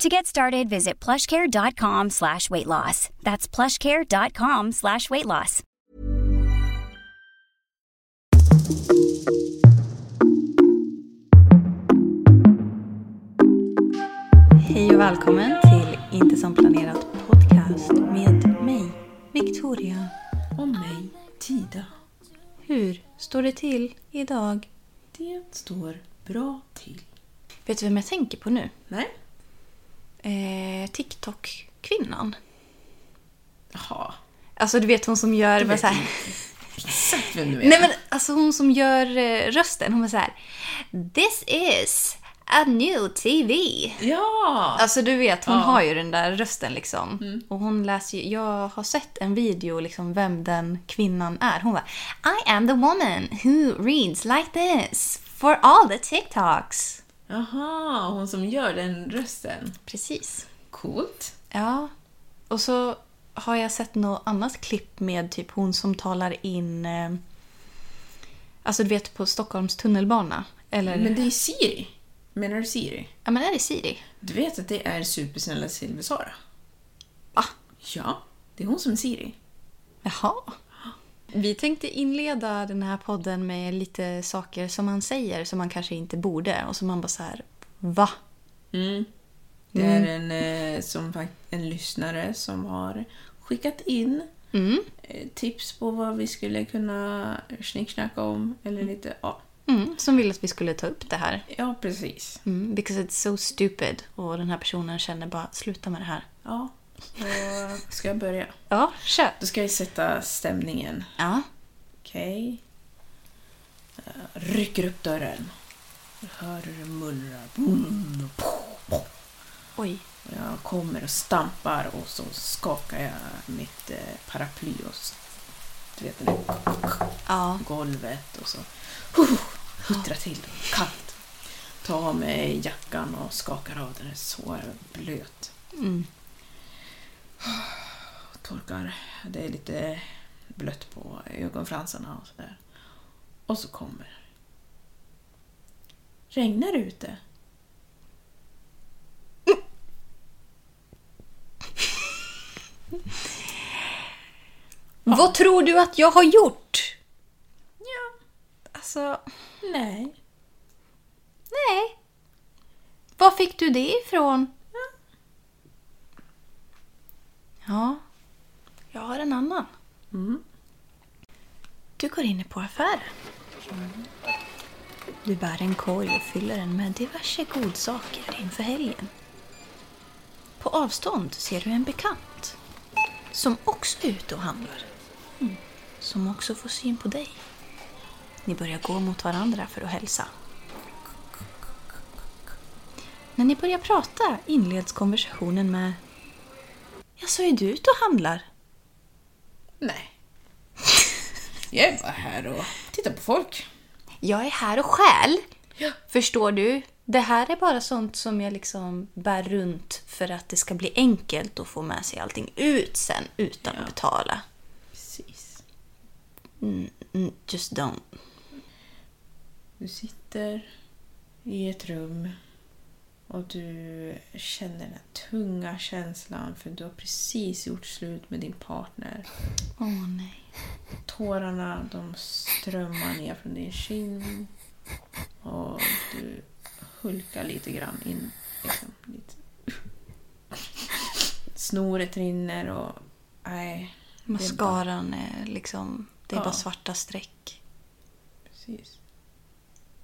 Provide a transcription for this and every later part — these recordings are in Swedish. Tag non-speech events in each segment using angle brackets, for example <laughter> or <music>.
To get started, visit plushcare.com slash weight loss. That's plushcare.com slash weight loss. Hej och välkommen till Inte som planerat podcast med mig, Victoria och mig, Tida. Hur står det till idag? Det står bra till. Vet du vem jag tänker på nu? Nej? Eh, TikTok-kvinnan. Jaha. Alltså du vet hon som gör... vet Med så här, <laughs> Exakt vem du är. nej men alltså hon som gör eh, rösten. Hon är så här... This is a new TV. Ja! Alltså du vet, hon Ja. Mm. har ju den där rösten liksom. Och hon läser ju, jag har sett en video liksom vem den kvinnan är. Hon bara I am the woman who reads like this for all the TikToks. Jaha, hon som gör den rösten. Precis. Coolt. Ja. Och så har jag sett något annat klipp med typ hon som talar in, eh, alltså du vet på Stockholms tunnelbana. Eller, Men det är Siri. Menar du Siri? ja men är det Siri? Du vet att det är supersnälla Silver-Sara? Va? Ja, det är hon som är Siri. Jaha. Vi tänkte inleda den här podden med lite saker som man säger som man kanske inte borde och som man bara så här, va? Det är en, eh, som, fakt- en lyssnare som har skickat in eh, tips på vad vi skulle kunna snicksnacka om. Eller lite, ja, Mm, som ville att vi skulle ta upp det här. ja precis. Mm, because it's so stupid. Och den här personen känner bara, sluta med det här. Ja, så ska jag börja. Ja, kör. Då ska jag sätta stämningen. Ja. Okej. Eh, Rycker upp dörren. Jag hör hur det mullrar. Boom, pow, pow. Oj. Och Jag kommer och stampar och så skakar jag mitt eh, paraply och s- du vet, det där Ja. golvet och så huh, huttrar till. Kallt. Tar av mig jackan och skakar av den. Den är så blöt. Torkar. Det är lite blött på ögonfransarna och sådär. Och så kommer. Regnar det ute? Vad tror du att jag har gjort? Ja. Alltså, Nej. nej. Var fick du det ifrån? Ja. Jag har en annan. Mm. Du går in på affären. Du bär en korg och fyller den med diverse godsaker inför helgen. På avstånd ser du en bekant som också är ute och handlar. Mm. Som också får syn på dig. Ni börjar gå mot varandra för att hälsa. När ni börjar prata inleds konversationen med Jag så är du ute och handlar? Nej. Jag är bara här och tittar på folk. Jag är här och stjäl. Förstår du? Det här är bara sånt som jag liksom bär runt för att det ska bli enkelt att få med sig allting ut sen utan att betala. Precis. Mm, Just don't. Du sitter i ett rum och du känner den här tunga känslan för du har precis gjort slut med din partner. Åh nej. Tårarna de strömmar ner från din kind och du hulkar lite grann in. Liksom, lite. Snoret rinner och... Nej, Mascaran är liksom... Det är Ja. bara svarta streck. precis.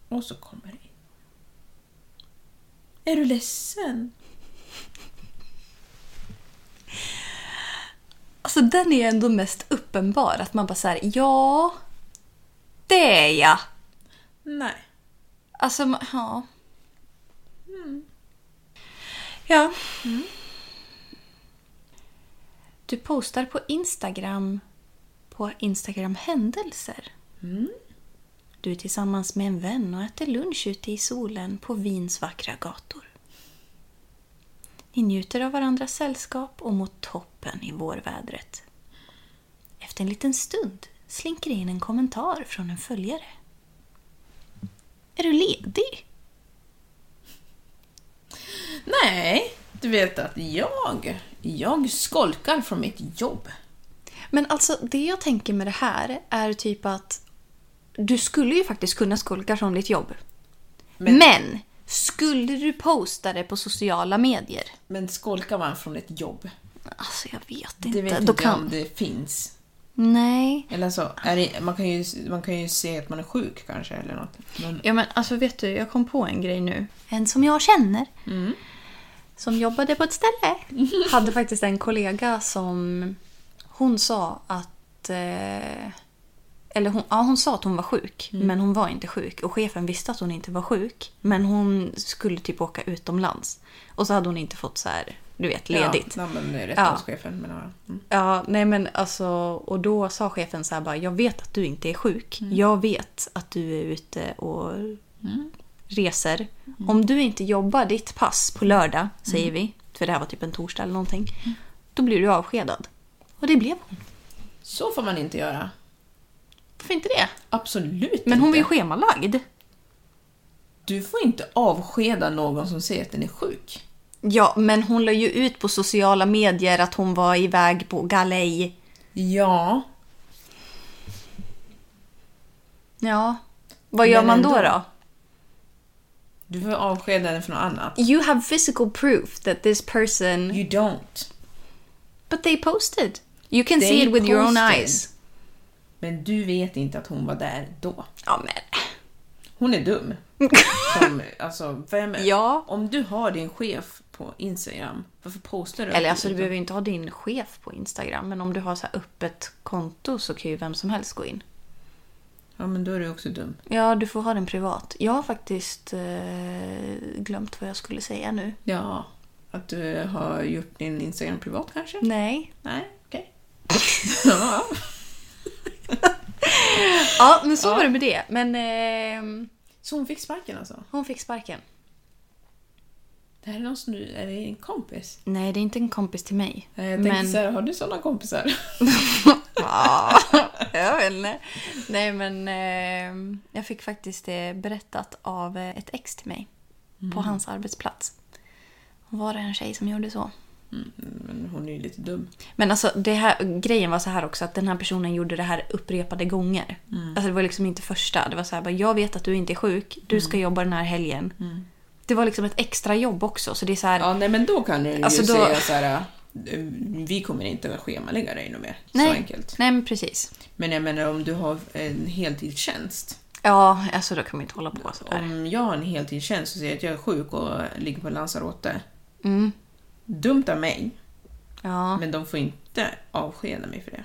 Och så kommer det in. Är du ledsen? Alltså den är ändå mest uppenbar. Att man bara såhär, ja... Det är jag! Nej. Alltså, ma- ja. Ja. Du postar på Instagram på Instagram händelser. Du är tillsammans med en vän och äter lunch ute i solen på Wiens vackra gator. Ni njuter av varandras sällskap och mot toppen i vårvädret. Efter en liten stund slinker in en kommentar från en följare. Är du ledig? Nej, du vet att jag, jag skolkar från mitt jobb. Men alltså det jag tänker med det här är typ att du skulle ju faktiskt kunna skolka från ditt jobb. Men, skulle du posta det på sociala medier? Men skolkar man från ett jobb? Alltså jag vet inte. Det vet Då inte jag kan... om det finns. Nej. Eller så, är det, man, kan ju, man kan ju se att man är sjuk kanske eller något. Men, Ja men alltså vet du, jag kom på en grej nu. Mm. En som jag känner. Som jobbade på ett ställe. <laughs> Hade faktiskt en kollega som... Hon sa att... Eh, eller hon, ja, hon sa att hon var sjuk, men hon var inte sjuk. Och chefen visste att hon inte var sjuk, men hon skulle typ åka utomlands. Och så hade hon inte fått så här, du vet, ledigt. Ja, nej, men det är rätt Ja. av chefen. Men, ja. mm. Ja, nej men alltså, och då sa chefen så här bara, jag vet att du inte är sjuk. Jag vet att du är ute och Mm. reser. Om du inte jobbar ditt pass på lördag, säger vi, för det här var typ en torsdag eller någonting, då blir du avskedad. Och det blev hon. Så får man inte göra. Varför inte det? Absolut Men hon var inte. ju schemalagd. Du får inte avskeda någon som säger att den är sjuk. Ja, men hon la ju ut på sociala medier att hon var iväg på galej. Ja, Ja, vad gör Men man då ändå. då? du får avskeda den från något annat. You have physical proof that this person You don't. But they posted. You can They see it with your own posted. eyes. Men du vet inte att hon var där då. Ja, men. Hon <laughs> är dum. Som, alltså, vem, Ja. Om du har din chef på Instagram, varför postar du? Eller alltså, du behöver ju inte ha din chef på Instagram, men om du har så här öppet konto så kan ju vem som helst gå in. Ja, men då är du också dum. Ja, du får ha den privat. Jag har faktiskt eh, glömt vad jag skulle säga nu. Ja, att du har gjort din Instagram privat kanske? Nej. Nej, okej. ja. Ja, men så var det med det. Men eh, Så hon fick sparken alltså? hon fick sparken. Det här är någon som du, är det en kompis? Nej, det är inte en kompis till mig. Eh, Jag tänkte Men- så här, har du sådana kompisar? <laughs> Ja, jag vet inte. Nej, men eh, jag fick faktiskt det berättat av eh, ett ex till mig på Mm. hans arbetsplats. Var det en tjej som gjorde så? Men hon är ju lite dum. Men alltså det här, grejen var så här också att den här personen gjorde det här upprepade gånger. Mm. Alltså det var liksom inte första. Det var så här bara, jag vet att du inte är sjuk, du Mm. ska jobba den här helgen. Det var liksom ett extra jobb också så det är så här, <laughs> Ja, nej men då kan du Alltså, ju då- säga så här, eh, vi kommer inte att schemalägga dig något mer. nej, Så enkelt. nej men precis. Men jag menar om du har en heltidstjänst. Ja, alltså då kan man inte hålla på sådär. Om jag har en heltidstjänst och säger att jag är sjuk och ligger på Lanzarote. Mm. Dumt av mig, Ja. men de får inte avskeda mig för det.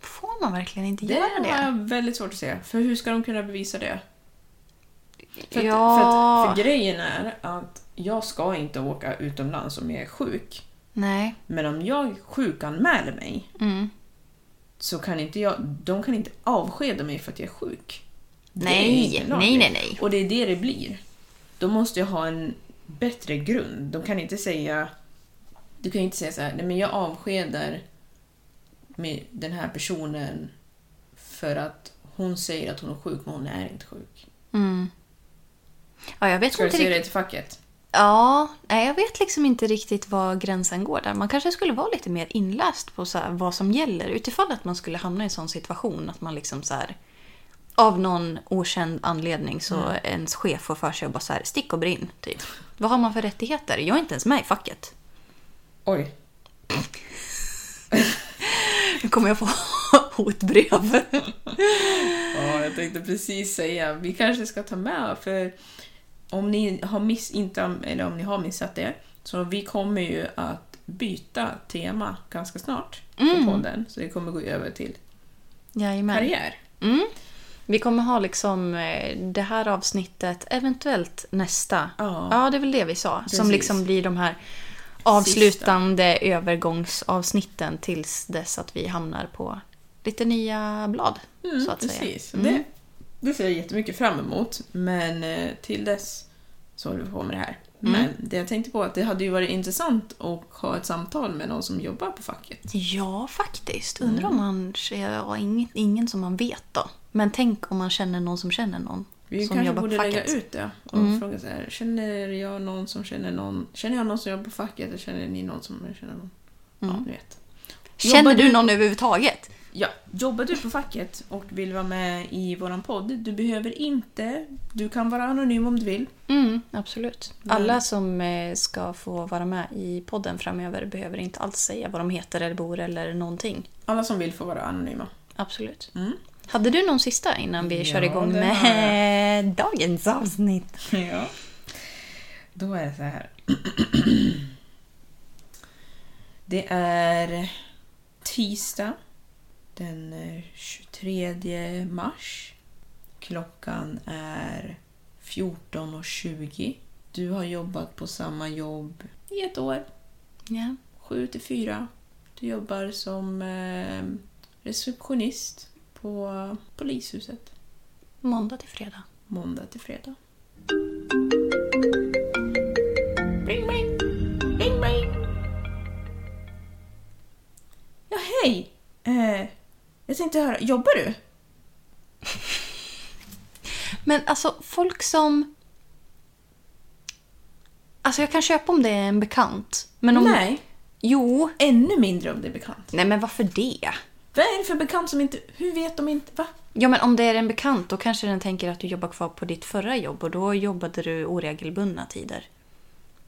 Får man verkligen inte Det göra det? har jag väldigt svårt att se. För hur ska de kunna bevisa det? För, att, Ja. för, att, för grejen är att jag ska inte åka utomlands om jag är sjuk. Nej. Men om jag sjukanmäler mig Mm. så kan inte jag, de kan inte avskeda mig för att jag är sjuk. Det Nej, är inte nej, lagligt. nej, nej. Och det är det det blir. De måste jag ha en bättre grund. De kan inte säga... Du kan ju inte säga så här, nej men jag avskedar med den här personen för att hon säger att hon är sjuk, men hon är inte sjuk. Ja, jag vet Ska du inte säga riktigt. det till facket? Ja, nej, jag vet liksom inte riktigt var gränsen går där. Man kanske skulle vara lite mer inläst på så här vad som gäller utifall att man skulle hamna i en sån situation att man liksom så här av någon okänd anledning så Mm. ens chef får för sig att bara så här stick och brinn typ. Vad har man för rättigheter? Jag är inte ens med i facket. Oj. Nu kommer jag få <laughs> hotbrev. Ja, jag tänkte precis säga, vi kanske ska ta med, för om ni har, miss, inte, eller om ni har missat det, så vi kommer ju att byta tema ganska snart Mm. på podden. Så vi kommer gå över till Jajamän. karriär. Vi kommer ha liksom eh, det här avsnittet, eventuellt nästa. Ja. ja det är väl det vi sa. Som Precis. liksom blir de här avslutande övergångsavsnitten tills dess att vi hamnar på lite nya blad. så att säga. Mm, Mm. Precis. Det, det ser jag jättemycket fram emot, men eh, till dess så håller vi på med det här. Mm. Men det jag tänkte på att det hade ju varit intressant att ha ett samtal med någon som jobbar på facket. Ja, faktiskt. Mm. Undrar om man... Ja, ingen, ingen som man vet då. Men tänk om man känner någon som känner någon Vi som kanske jobbar borde på lägga facket. Mm. ut det och fråga så här, känner jag någon som känner någon? Känner jag någon som jobbar på facket eller känner ni någon som känner någon? Ja, ni vet. Mm. Känner Jobbar du du- någon överhuvudtaget? Ja, jobbar du på facket och vill vara med i våran podd? Du behöver inte. Du kan vara anonym om du vill. Mm, absolut. Alla som eh, ska få vara med i podden framöver behöver inte alls säga vad de heter eller bor eller någonting. Alla som vill får vara anonyma. Absolut. Hade du någon sista innan vi kör igång Mm. det med dagens avsnitt? Ja. Då är det så här. Det är tisdag den eh, 23 mars. Klockan är 14.20. Du har jobbat på samma jobb i ett år, Ja. 7 till 4. Du jobbar som eh, receptionist på polishuset Måndag till fredag. måndag till fredag. Ja, hej! Eh, jag tänkte höra, jobbar du? Men alltså folk som... Alltså jag kan köpa om det är en bekant. Men om... Nej, Jo. ännu mindre om det är bekant. Nej men varför det? Vad är det för bekant som inte... Hur vet de inte? Va? Ja men om det är en bekant då kanske den tänker att du jobbar kvar på ditt förra jobb och då jobbade du oregelbundna tider.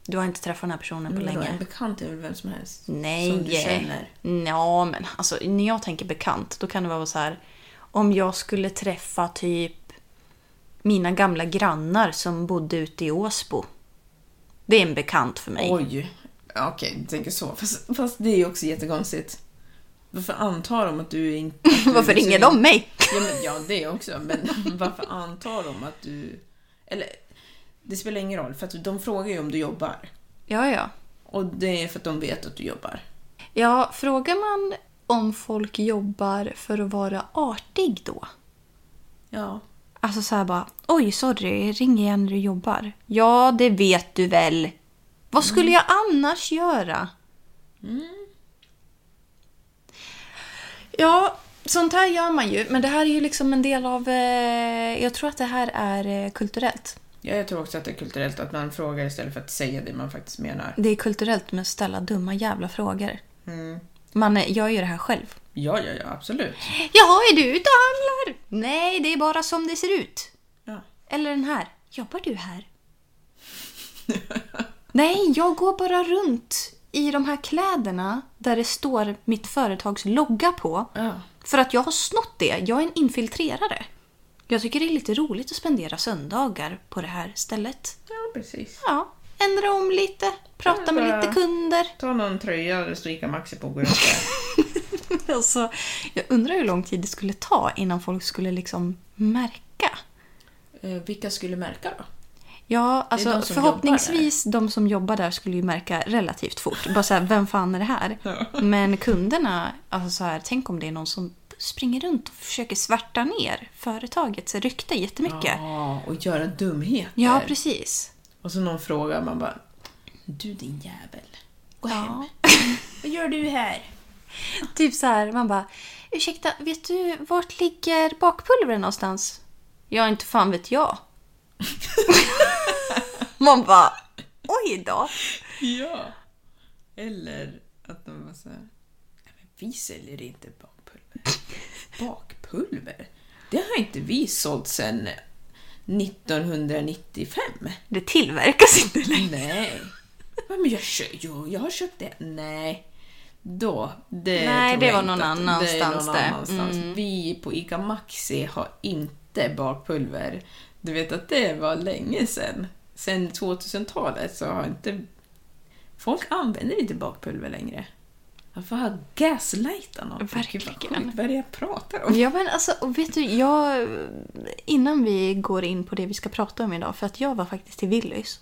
Du har inte träffat den här personen på Men vadå, länge. En bekant är väl vem som helst? Nej. Mm, Som du känner? Ja, men alltså när jag tänker bekant, då kan det vara så här. Om jag skulle träffa typ mina gamla grannar som bodde ute i Åsbo. Det är en bekant för mig. <laughs> Oj. Ja, Okej, du tänker så. Fast, fast det är ju också jättekonstigt. Varför antar de att du inte... att <laughs> du Varför är så ringer de mig? Ja, men, ja det också. Men <laughs> varför antar de att du... Eller, det spelar ingen roll, för att de frågar ju om du jobbar. Ja, ja. Och det är för att de vet att du jobbar. Ja, frågar man om folk jobbar för att vara artig då? Ja. Alltså så här bara, oj sorry, ring igen när du jobbar. Ja, det vet du väl. Vad skulle jag annars göra? Ja, sånt här gör man ju, men det här är ju liksom en del av... Eh, jag tror att det här är eh, kulturellt. ja. Jag tror också att det är kulturellt att man frågar istället för att säga det man faktiskt menar. Det är kulturellt med att ställa dumma jävla frågor. Man eh, gör ju det här själv. Ja, ja, ja, absolut. Jaha, är du ute och handlar? Nej, det är bara som det ser ut. Ja. Eller den här. Jobbar du här? Nej, jag går bara runt i de här kläderna där det står mitt företags logga på. Ja. För att jag har snott det. Jag är en infiltrerare. Jag tycker det är lite roligt att spendera söndagar på det här stället. Ja, precis. Ja, ändra om lite, prata med lite kunder. <laughs> Ta någon tröja och stryka Maxi på och gå runt där. Alltså, jag undrar hur lång tid det skulle ta innan folk skulle liksom märka. <laughs> Eh, Vilka skulle märka då? Ja, de alltså som förhoppningsvis de som jobbar där skulle ju märka relativt fort. Bara såhär, vem fan är det här? Men kunderna, alltså så här, tänk om det är någon som springer runt och försöker svärta ner företagets rykte jättemycket. Ja, Ja, och göra dumheter. ja precis. Och så någon frågar man bara Du din jävel. Gå hem. Vad gör du här? typ så här, man bara ursäkta, vet du vart ligger bakpulvren någonstans? Ja, inte fan vet jag. man bara oj då. Ja. Eller att de var så här, "Nej, men vi säljer inte <laughs> bakpulver. Bakpulver? Det har inte vi sålt sedan 1995. Det tillverkas inte längre. Nej. Va, Men jag, kö- jo, jag har köpt det. Nej. Då, det Nej, tror det jag var inte någon att- annanstans Mm. det. det. Är någon annanstans. Vi på ICA Maxi har inte bakpulver. Du vet att det var länge sedan. Sen 2000-talet så har inte... Folk använder inte bakpulver längre. Varför har jag gaslightat någon? Verkligen. Gud, Vad är det jag pratar om? Ja men alltså, och vet du, jag... Innan vi går in på det vi ska prata om idag, för att jag var faktiskt till Willys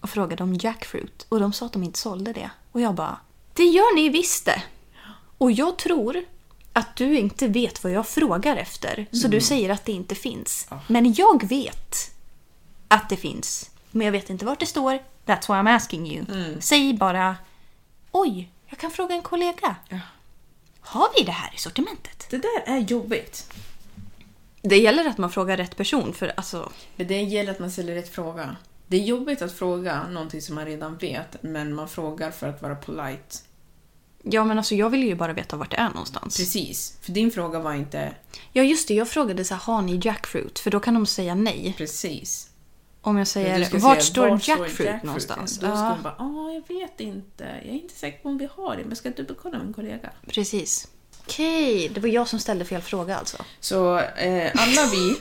och frågade om jackfruit och de sa att de inte sålde det. Och jag bara, det gör ni visst det! Och jag tror att du inte vet vad jag frågar efter, så du säger att det inte finns. Men jag vet att det finns, men jag vet inte vart det står. That's why I'm asking you. Säg bara, oj, jag kan fråga en kollega. Har vi det här i sortimentet? Det där är jobbigt. Det gäller att man frågar rätt person för alltså... Men det gäller att man ställer rätt fråga. Det är jobbigt att fråga någonting som man redan vet, men man frågar för att vara polite. Ja men alltså jag ville ju bara veta vart det är någonstans. Precis, för din fråga var inte Ja just det, jag frågade så här, har ni jackfruit? För då kan de säga nej. precis. Om jag Men du säger ska vart säga, står jackfruit, jackfruiten? någonstans? Då ska ja, hon bara, ah, jag vet inte. Jag är inte säker på om vi har det, men ska jag dubbelkolla med en kollega? precis. Okej, det var jag som ställde fel fråga alltså. Så eh, alla <laughs> vi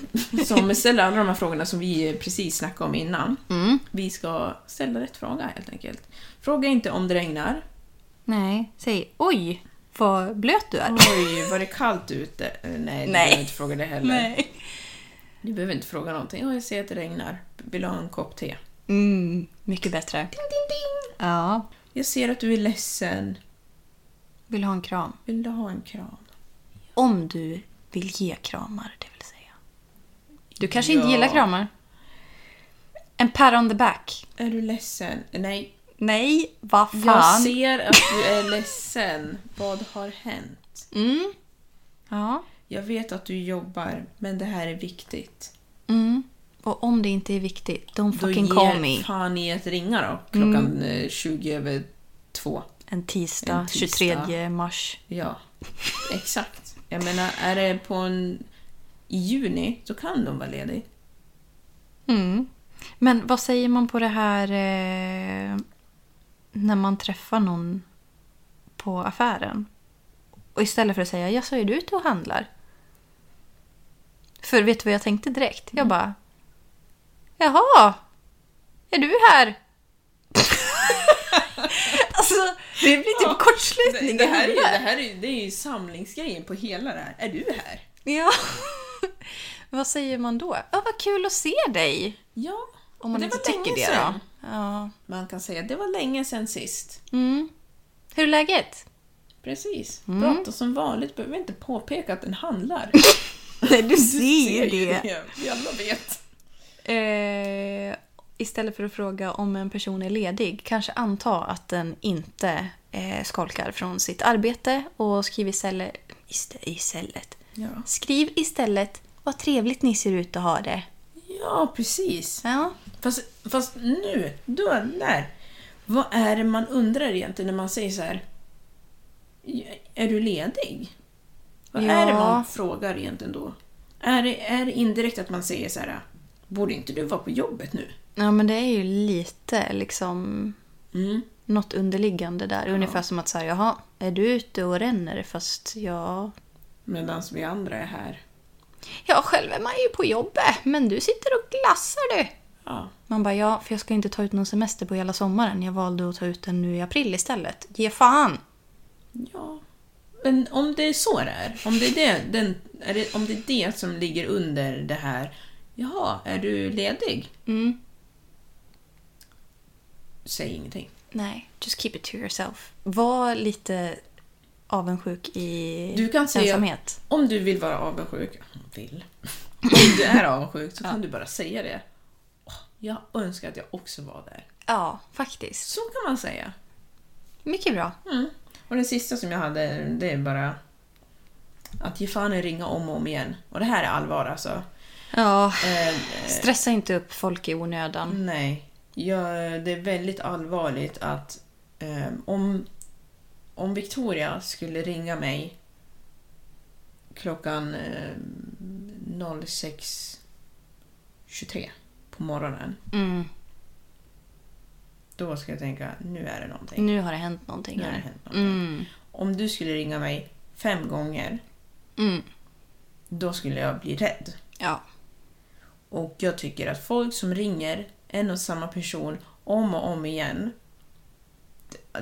som ställer alla de här frågorna som vi precis snackade om innan, Mm. vi ska ställa rätt fråga helt enkelt. Fråga inte om det regnar. Nej, säg oj vad blöt du är. Oj, var det kallt ute? Eh, Nej, Nej. du behöver inte fråga det heller. Nej. Du behöver inte fråga någonting. Ja, jag ser att det regnar. Vill du ha en kopp te? Mm, mycket bättre. Ja. Jag ser att du är ledsen. Vill du ha en kram? Vill du ha en kram? Om du vill ge kramar, det vill säga. Du kanske inte Ja. gillar kramar? En pat on the back? Är du ledsen? Nej, Nej, vad jag fan? ser att du är ledsen. Vad har hänt? Mm. Ja. Jag vet att du jobbar, men det här är viktigt. Mm. Och om det inte är viktigt, don't Då fucking call me. ger fan i att ringa då. Klockan mm. 20 över två. En tisdag, En tisdag. 23 mars. Ja, exakt. Jag menar, är det på en... I juni, så kan de vara lediga. Mm. Men vad säger man på det här eh, när man träffar någon på affären? Och istället för att säga “jag är du ute och handlar?” För vet du vad jag tänkte direkt? Mm. Jag bara “Jaha, är du här?” <laughs> Alltså, det blir typ kortslutning Det i här, är ju, det, huvudet. här är, ju- det är ju samlingsgrejen på hela det här. Är du här? Ja. <laughs> vad säger man då? “Ja, vad kul att se dig!” Ja. Om man det inte var tycker länge det då. sedan. Ja. Man kan säga det var länge sedan sist. Mm. Hur är läget? Precis. Mm. Prata som vanligt. Behöver inte påpeka att den handlar. Nej, du <laughs> Ser ju Vi alla vet. Eh, istället för att fråga om en person är ledig, kanske anta att den inte eh, skolkar från sitt arbete och skriv istället... Istä, istället. Ja. Skriv istället vad trevligt ni ser ut att ha det. Ja, precis. Ja. Fast, fast nu, då, där. Vad är det man undrar egentligen när man säger så här? Är du ledig? Vad är det Ja. man frågar egentligen då? Är det, är det indirekt att man säger så här? Borde inte du vara på jobbet nu? ja, men det är ju lite liksom Mm. något underliggande där. Ungefär som att säga, jaha, är du ute och ränner fast jag Medan vi andra är här. Ja, själv är man ju på jobbet, men du sitter och glassar du. Ja. Man bara, ja, för jag ska inte ta ut någon semester på hela sommaren. Jag valde att ta ut den nu i april istället. Ge fan! ja. Men om det är så det är, om det är det, den, är det, om det, är det som ligger under det här, jaha, är du ledig? Mm. Säg ingenting. Nej, just keep it to yourself. Var lite avundsjuk i Du kan säga- ensamhet. Om du vill vara avundsjuk, vill. Om du är avundsjuk så kan du bara säga det. Åh, Jag önskar att jag också var där. Ja, faktiskt. Så kan man säga. Mycket bra. Mm. Och det sista som jag hade, det är bara att ge fan i att ringa om och om igen. Och det här är allvar alltså. Ja, Eh, stressa inte upp folk i onödan. Nej. Jag, det är väldigt allvarligt att eh, om, om Victoria skulle ringa mig klockan eh, 06.23 på morgonen. Mm. Då ska jag tänka, nu är det någonting. Nu har det hänt någonting. Nu har det här. hänt någonting. Mm. Om du skulle ringa mig fem gånger, Mm. då skulle jag bli rädd. Ja. Och jag tycker att folk som ringer en och samma person om och om igen,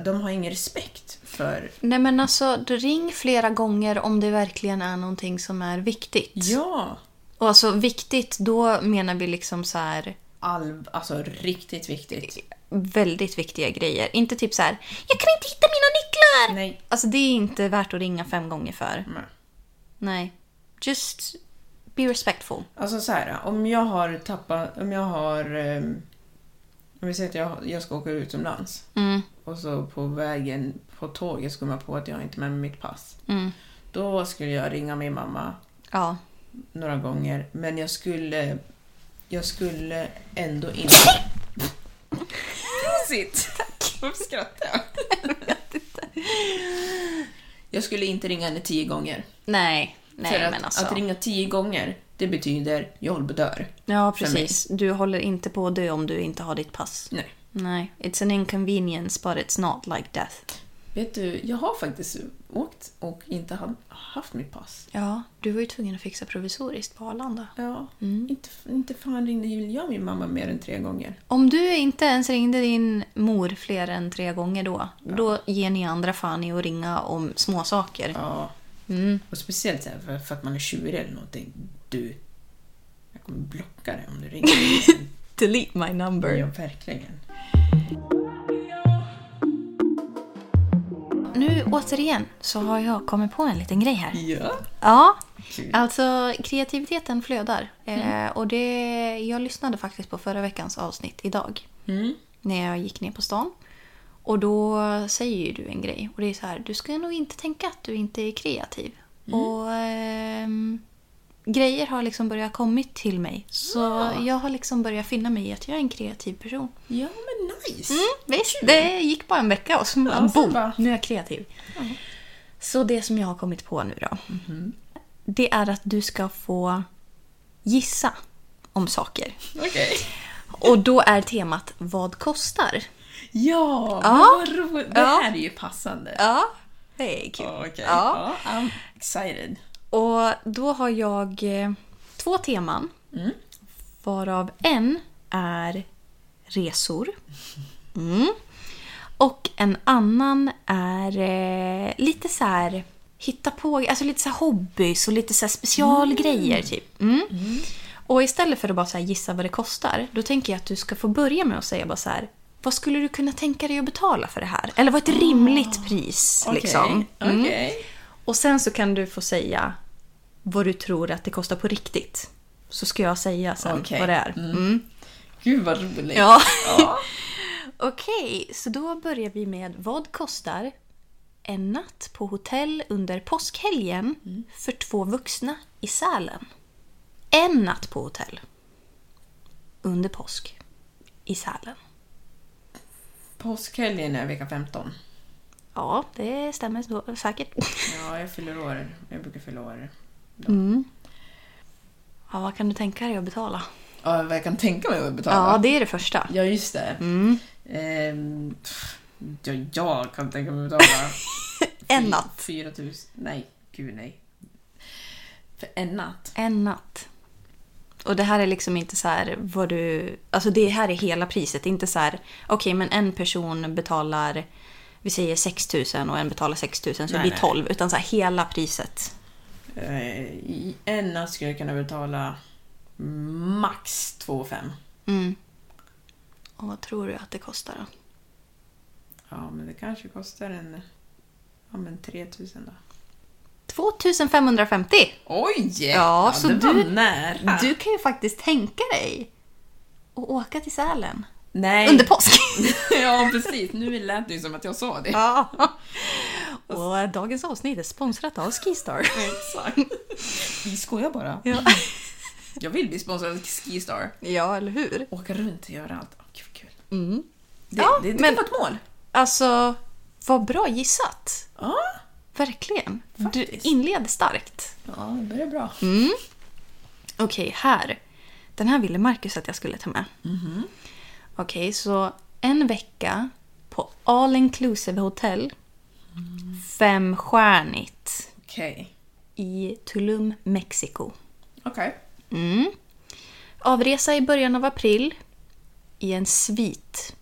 de har ingen respekt för... Nej men alltså, du ring flera gånger om det verkligen är någonting som är viktigt. Ja! Och alltså viktigt, då menar vi liksom så här All, alltså riktigt viktigt. väldigt viktiga grejer. Inte typ så här, jag kan inte hitta mina nycklar! Nej. Alltså det är inte värt att ringa fem gånger för. Nej. Nej. Just be respectful. Alltså så här, om jag har tappat... Om jag har... eh, Om vi säger att jag, jag ska åka utomlands och så på vägen på tåget så kommer jag på att jag inte har med mig mitt pass. Då skulle jag ringa min mamma Ja. några gånger, men jag skulle... Jag skulle ändå <laughs> inte... Prosit! Tack! Varför skrattar jag? <laughs> Jag skulle inte ringa henne tio gånger. Nej. Nej För att, men alltså. att ringa tio gånger, det betyder jag håller på att dör. ja för mig. precis. Du håller inte på att dö om du inte har ditt pass. Nej. Nej. It's an inconvenience but it's not like death. Vet du, jag har faktiskt åkt och inte ha- haft mitt pass. Ja, du var ju tvungen att fixa provisoriskt på Arlanda. Ja, Mm. inte, inte fan ringde ju jag min mamma mer än tre gånger. Om du inte ens ringde din mor fler än tre gånger då, då ger ni andra fan i att ringa om småsaker. Ja. Mm. Och speciellt så här för, för att man är tjurig eller någonting. Du, jag kommer blocka dig om du ringer. igen. Delete my number. ja, verkligen. Nu återigen så har jag kommit på en liten grej här. Ja. Ja, Kul. alltså kreativiteten flödar. Eh, och det, jag lyssnade faktiskt på förra veckans avsnitt idag. När jag gick ner på stan. Och då säger ju du en grej. Och det är så här, du ska nog inte tänka att du inte är kreativ. Och ehm, grejer har liksom börjat kommit till mig. Så jag har liksom börjat finna mig i att jag är en kreativ person. Ja, men nice. Mm, visst, det gick bara en vecka och så bara, sen boom, bara- nu är jag kreativ. Så det som jag har kommit på nu då. Det är att du ska få gissa om saker. Okej. Och då är temat Vad kostar? Ja, men Ja. vad roligt. Det Ja. här är ju passande. Ja, det är kul. Okej. Ja. Ja. I'm excited. Och då har jag eh, två teman. Varav en är resor. Mm. Och en annan är eh, lite så här hitta på, alltså lite så här hobbys och lite så här specialgrejer typ. Mm. Och istället för att bara så här gissa vad det kostar, då tänker jag att du ska få börja med att säga bara så här vad skulle du kunna tänka dig att betala för det här? Eller vad är ett rimligt pris? Okej. Liksom. Mm. Okej. Och sen så kan du få säga vad du tror att det kostar på riktigt. Så ska jag säga sen Okej. vad det är. Mm. Gud vad roligt. Ja. <laughs> Okej, så då börjar vi med vad kostar en natt på hotell under påskhelgen för två vuxna i Sälen? En natt på hotell under påsk i Sälen. Påskhelgen är vecka 15. Ja, det stämmer så, <laughs> säkert. Ja, jag fyller år. Jag brukar fylla år. Ja, vad kan du tänka dig att betala? Ja, vad jag kan tänka mig att betala. Ja, det Mm. är det första. Ja, just det. Ehm, pff, ja, jag kan tänka mig att betala. En <laughs> natt. 4 000. Nej, gud nej. För en natt? En natt. Och det här är liksom inte så här vad du... Alltså det här är hela priset. Det är inte så här, okej men en person betalar, vi säger 6 000 och en betalar 6 000 så det Nej, blir nej. 12 Utan så här hela priset. Eh, i en natt skulle jag kunna betala max 2 5. Och vad tror du att det kostar då? Ja, men det kanske kostar en... Ja, men 3 000 då. 2550! Oj! Ja, så det du- var nära. Du kan ju faktiskt tänka dig att åka till Sälen Nej. <laughs> under påsk. <laughs> ja, precis. Nu lät det ju som att jag sa det. Ja. Och eh, dagens avsnitt är sponsrat av Skistar. Exakt. Vi skojar bara. Ja. Jag vill bli sponsrad av Skistar. <laughs> ja, eller hur? Åka runt och göra allt. Åh, Gud, vad kul. Det, Mm. Ja, det, det men- kan vara ett mål. Alltså, vad bra gissat! Ja, Verkligen. Du Faktiskt. inleder starkt. ja det börjar bra. Mm. Okej, här. Den här ville Marcus att jag skulle ta med. Mhm. Okej, så en vecka på all inclusive hotell. Mm. Femstjärnigt. Okej. I Tulum, Mexiko. Okej. Avresa i början av april. I en svit.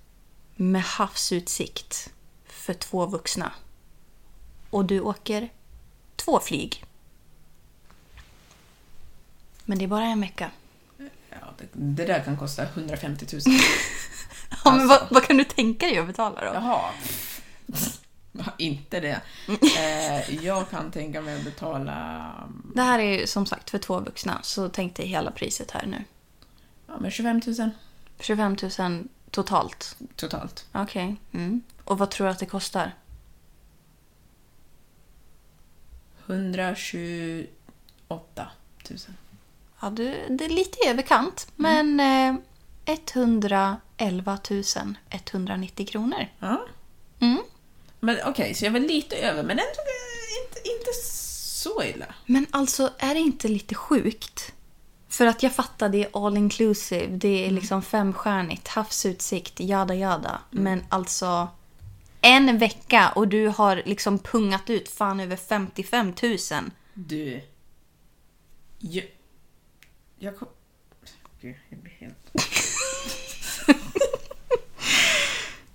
Med havsutsikt. För två vuxna. Och du åker två flyg. Men det är bara en vecka. Ja, det, det där kan kosta 150 000. Ja, men vad, vad kan du tänka dig att betala då? <laughs> Jaha. Ja, Inte det. Eh, jag kan tänka mig att betala Det här är ju som sagt för två vuxna, så tänk dig hela priset här nu. ja, men 25 000 25 000 totalt. totalt. Okej. Mm. Och vad tror du att det kostar? 128 000. Ja, du, det är lite i överkant, men eh, 111 190 kronor. Ja. Mm. Men okej, så jag var lite över, men ändå eh, inte, inte så illa. Men alltså, är det inte lite sjukt? För att jag fattar, det är all inclusive, det är liksom femstjärnigt, havsutsikt, jada jada. Men alltså, en vecka och du har liksom pungat ut fan över 55 000. Du. Jag... Jag kom... Gud, jag blir <laughs> helt...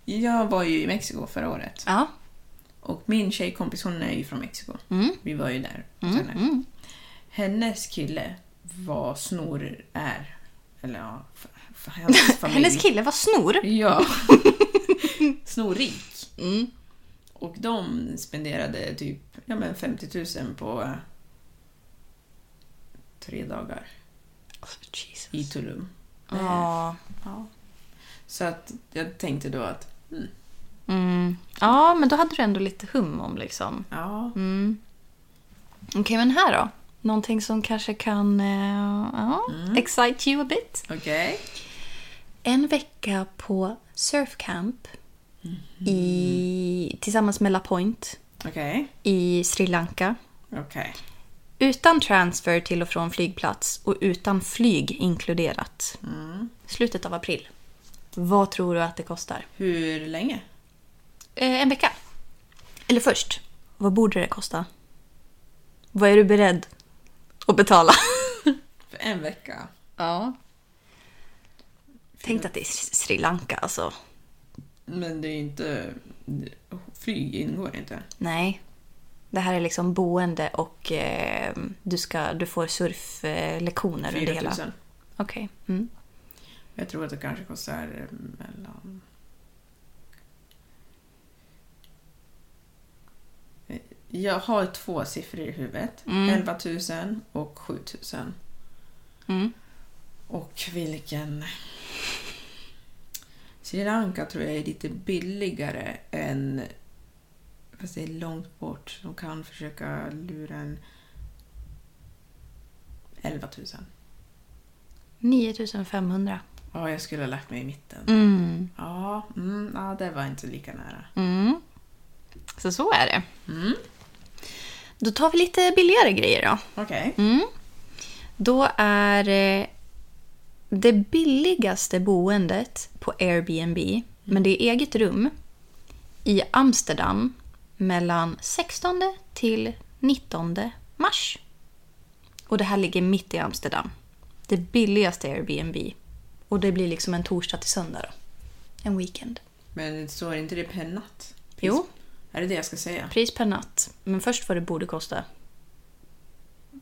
jag var ju i Mexiko förra året. Ja. Och min tjejkompis hon är ju från Mexiko. Mm. Vi var ju där hos henne. Hennes kille var snor är. Eller ja, f- f- hans familj. <laughs> Hennes kille var snor. <laughs> Ja. Snorrik. Mm. Och de spenderade typ ja, men 50 000 på eh, tre dagar Alltså, i Tulum. Ja. Så att jag tänkte då att mm, Mm. ja, men då hade du ändå lite hum om liksom. ja, Okej, men här då? Någonting som kanske kan eh, ja, excite you a bit? okej. en vecka på surfcamp Mhm. i, tillsammans med La Point Okej. i Sri Lanka. Okej. Utan transfer till och från flygplats och utan flyg inkluderat. Slutet av april. Vad tror du att det kostar? Hur länge? Eh, en vecka. Eller först, vad borde det kosta? Vad är du beredd att betala? För en vecka? Ja. Tänk dig att det är Sri Lanka alltså. Men det är inte... Flyg ingår inte. Nej. Det här är liksom boende och eh, du, ska, du får surflektioner under 4 hela... 000. Okej. Mm. Jag tror att det kanske kostar eh, mellan... Eh, Jag har två siffror i huvudet. 11 000 och 7 000. Och vilken... Sri Lanka tror jag är lite billigare än... Fast det är långt bort. De kan försöka lura en... 11 000. 9500. Ja, jag skulle ha lagt mig i mitten. Mm. Ja, mm, ja, det var inte lika nära. Mm. Så så är det. Mm. Då tar vi lite billigare grejer då. Okej. Mm. Då är eh, det billigaste boendet på Airbnb, men det är eget rum, i Amsterdam mellan 16 till 19 mars. Och det här ligger mitt i Amsterdam. Det billigaste Airbnb. Och det blir liksom en torsdag till söndag då. En weekend. Men står inte det per natt? Jo, Är det det jag ska säga? pris per natt. Men först vad det borde kosta. <laughs>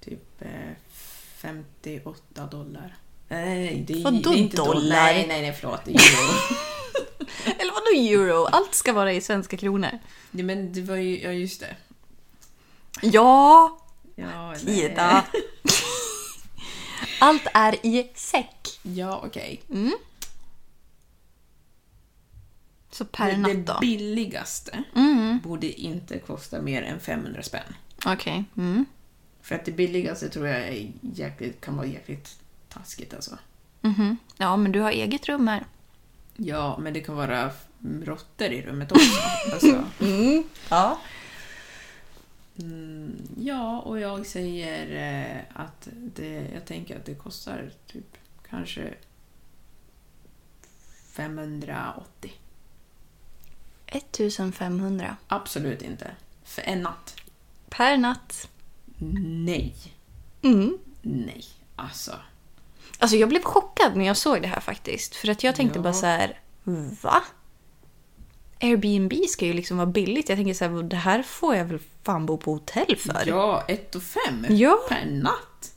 Typ eh, 58 dollar. Nej, det är, Vadå det är inte dollar? Nej, nej, nej, förlåt. <laughs> Det är euro. Eller vadå euro? Allt ska vara i svenska kronor. Nej, men det var ju... Ja, just det. Ja, Ja, <laughs> nej. Ida. Allt är i säck. Ja, okej. Så per det, natt det då? Mm. billigaste borde inte kosta mer än 500 spänn. Okej. Mm. För att det billigaste tror jag är jäkligt, kan vara jäkligt taskigt alltså. Mhm. Ja, men du har eget rum här. Ja, men det kan vara f- råttor i rummet också. alltså, Ja. ja, och jag säger eh, att det, jag tänker att det kostar typ kanske 580. 1500. Absolut inte. För en natt. Per natt. Nej. Mm. Nej. Alltså. Alltså jag blev chockad när jag såg det här faktiskt. För att jag tänkte bara så här, va? Airbnb ska ju liksom vara billigt. Jag tänker så här, det här får jag väl fan bo på hotell för? Ja, ett och fem Ja. per natt.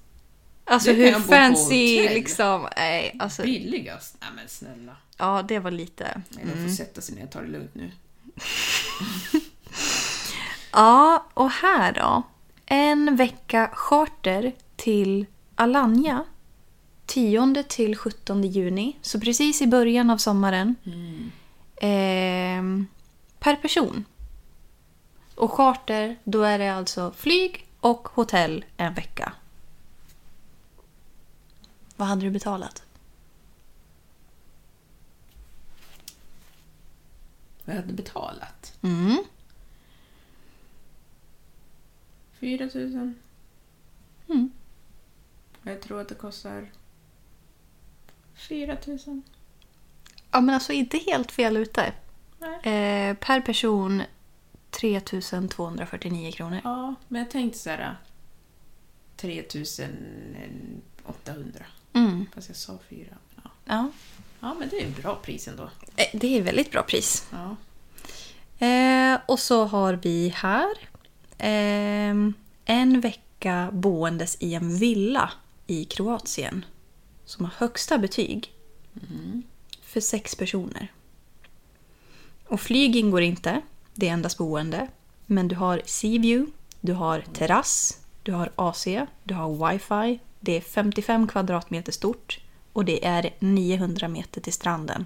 alltså det kan hur jag bo på fancy hotell. liksom. Nej, alltså, Billigast. Nej men snälla. ja, det var lite. Nej, de får sätta sig ner och ta det lugnt nu. Ja, och här då. En vecka charter till Alanya. 10 till 17 juni, så precis i början av sommaren. Mm. Ehm, per person. Och charter, då är det alltså flyg och hotell en vecka. Vad hade du betalat? Vad jag hade betalat. Mm. 4 000. Mm. Jag tror att det kostar 4 000. Ja, men alltså inte helt fel ute. Nej. Eh, per person 3249 kronor. Ja, men jag tänkte så här äh, 3 800. Mm. Fast jag sa 4. Ja. Ja. ja, men det är ett bra pris ändå. Eh, Det är väldigt bra pris. Ja. Eh, och så har vi här ehm, en vecka boendes i en villa i Kroatien som har högsta betyg för sex personer. Och flyg ingår inte, det är endast boende. Men du har sea view, du har terrass, du har AC, du har wifi. Det är 55 kvadratmeter stort och det är 900 meter till stranden.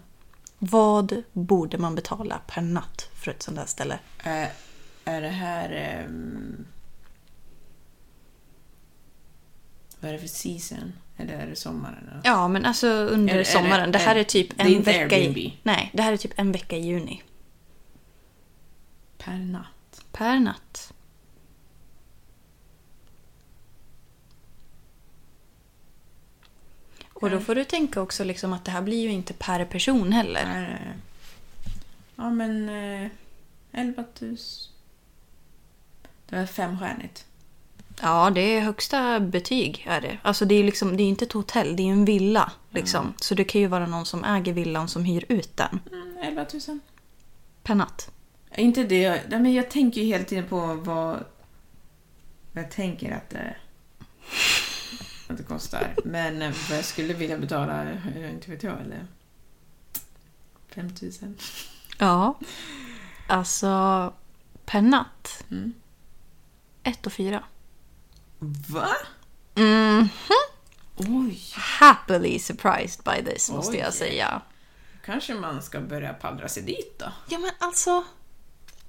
Vad borde man betala per natt för ett sånt här ställe? Eh, är det här... ehm, vad är det för season? Eller är det sommaren? eller? Ja, men alltså under Är det- är sommaren. det- det här är- är typ det en är inte vecka Airbnb? i... Nej, det här är typ en vecka i juni. Per natt. Per natt. Och då får du tänka också liksom att det här blir ju inte per person heller. Är det, ja, men... Eh, 11 000. Det var femstjärnigt. Ja, det är högsta betyg är det. Alltså det är ju liksom, det är inte ett hotell, det är ju en villa. Liksom. Så det kan ju vara någon som äger villan som hyr ut den. Mm, 11 000. Per natt. Är Inte det. Nej, men jag tänker ju hela tiden på vad... vad jag tänker att det, att det kostar. Men eh, vad jag skulle vilja betala, eh, inte vet jag, eller... 5 000. Ja. Alltså, per natt. Mm. Ett och fyra. Va? Oj! Happily surprised by this, måste Oj. jag säga. Kanske man ska börja pallra sig dit då? Ja, men alltså.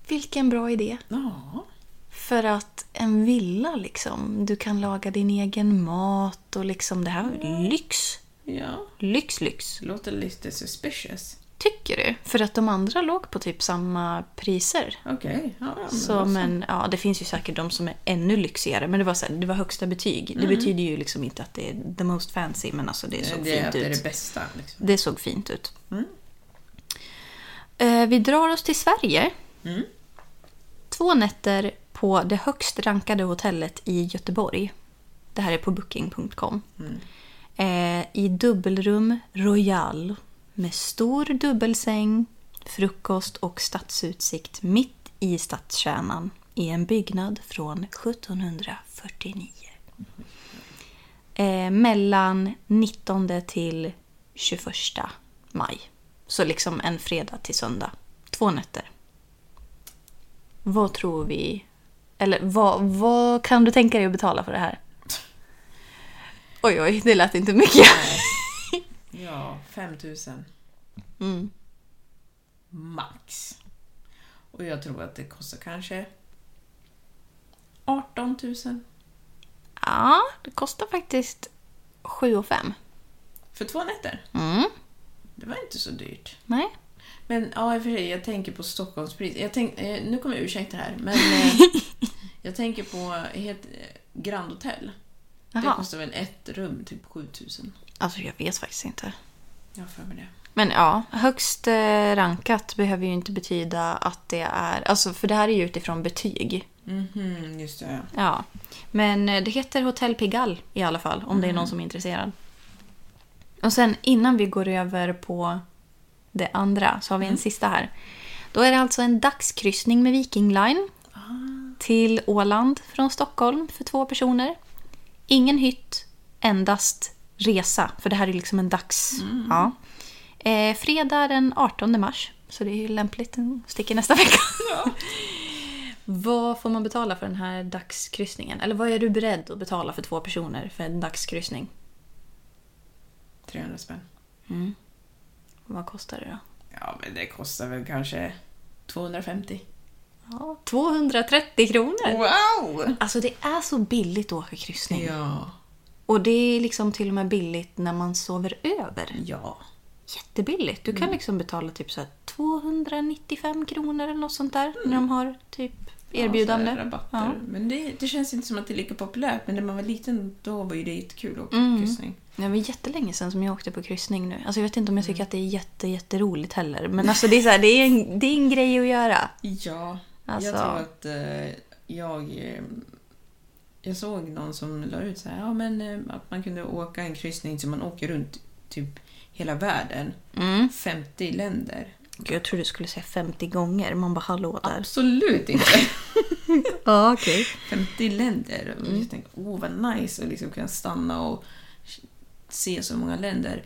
Vilken bra idé. Ja. För att en villa, liksom. Du kan laga din egen mat och liksom det här. Lyx! Ja. Lyx, lyx. Det låter lite suspicious. Tycker du? För att de andra låg på typ samma priser. Okej. Ja, ja, men alltså. Så, då så. men, ja, det finns ju säkert de som är ännu lyxigare, men det var, så här, det var högsta betyg. Det betyder ju liksom inte att det är the most fancy, men alltså det såg Mm. det är fint att det är ut. det bästa. Liksom. Det såg fint ut. Eh, vi drar oss till Sverige. Två nätter på det högst rankade hotellet i Göteborg. Det här är på booking.com. Eh, I dubbelrum Royal med stor dubbelsäng, frukost och stadsutsikt mitt i stadskärnan i en byggnad från 1749 eh, mellan 19 till 21 maj. Så liksom en fredag till söndag. Två nätter. Vad tror vi... Eller vad, vad kan du tänka dig att betala för det här? Oj, oj, det lät inte mycket. Mm. Ja, 5 000. max. Och jag tror att det kostar kanske 18 000 Ja, det kostar faktiskt 7 och 5. för två nätter. Mm. Det var inte så dyrt. Nej. Men ja, i och för sig, jag tänker på Stockholmspris. Jag tänk, eh, nu kommer jag ursäkta här, <laughs> men eh, jag tänker på het, eh, Grand Hotel. Det Jaha. kostar väl ett rum typ 7000. Alltså jag vet faktiskt inte. Jag har för mig det. Men ja, högst eh, rankat behöver ju inte betyda att det är... Alltså för det här är ju utifrån betyg. Mhm, just det. Ja. Ja. Men eh, det heter Hotel Pigalle i alla fall, om det är någon som är intresserad. Och sen innan vi går över på det andra så har vi en sista här. Då är det alltså en dagskryssning med Viking Line till Åland från Stockholm för två personer. Ingen hytt, endast resa. För det här är liksom en dags... Ja. Eh, fredag den 18 mars, så det är ju lämpligt. Den sticker nästa vecka. Vad får man betala för den här dagskryssningen? Eller vad är du beredd att betala för två personer för en dagskryssning? 300 spänn. Vad kostar det då? Ja, men det kostar väl kanske 250. Ja, 230 kronor! Wow! Alltså det är så billigt att åka kryssning. Ja. Och det är liksom till och med billigt när man sover över. Ja. Jättebilligt. Du kan Mm. liksom betala typ så här 295 kronor eller något sånt där när de har typ erbjudande. Ja, Mm. så här rabatter. Ja. Men det, det känns inte som att det är lika populärt. Men när man var liten då var ju det jättekul att åka kryssning. Det var jättelänge sedan som jag åkte på kryssning nu. Alltså jag vet inte om jag Mm. tycker att det är jätte, jätteroligt heller. Men alltså det är, så här, det, är en, det är en grej att göra. Ja, Alltså- jag tror att eh, jag... eh, Jag såg någon som la ut så här, ja, men, eh, att man kunde åka en kryssning så man åker runt typ hela världen. Mm. 50 länder. Gud, jag trodde du skulle säga 50 gånger. Man bara hallå där. Absolut inte! Ja, okej. 50 länder. Och Mm. jag tänkte, åh vad nice att liksom kunna stanna och se så många länder.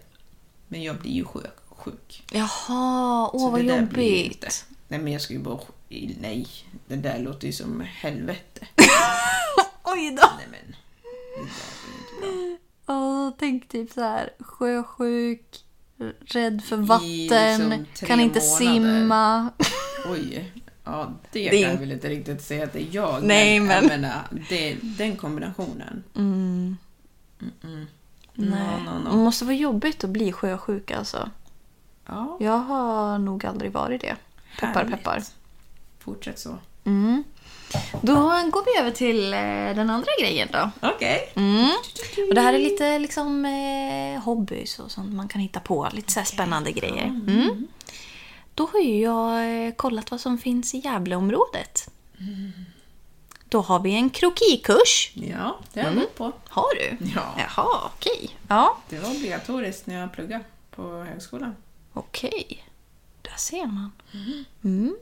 Men jag blir ju sjuk. sjuk. Jaha, åh Så vad det där blir ju inte. jobbigt. Nej men jag ska ju bara... Nej, det där låter ju som helvete. Oj då. Nej men. Åh, tänk typ så här sjösjuk, rädd för I vatten, liksom tre kan inte månader. <laughs> simma. Oj. Ja, det, Det är kan jag inte- väl inte riktigt säga att det är jag. Nej, Jag men- Mm. menar, det, den kombinationen. Nej. no, no. Det måste vara jobbigt att bli sjösjuk alltså. Ja, Jag har nog aldrig varit det. Peppar Härligt. peppar. fortsätt så. Då går vi över till eh, den andra grejen då. Okej. Mm. Och det här är lite liksom eh, hobbys och sånt man kan hitta på. Lite så här spännande grejer. Mm. Då har ju jag eh, kollat vad som finns i Gävleområdet. Då har vi en krokikurs. Ja, det har Mm. jag gått på. Har du? Ja. Jaha, okej. Ja, Det var obligatoriskt när jag pluggade på högskolan. okej. Där ser man. Mm.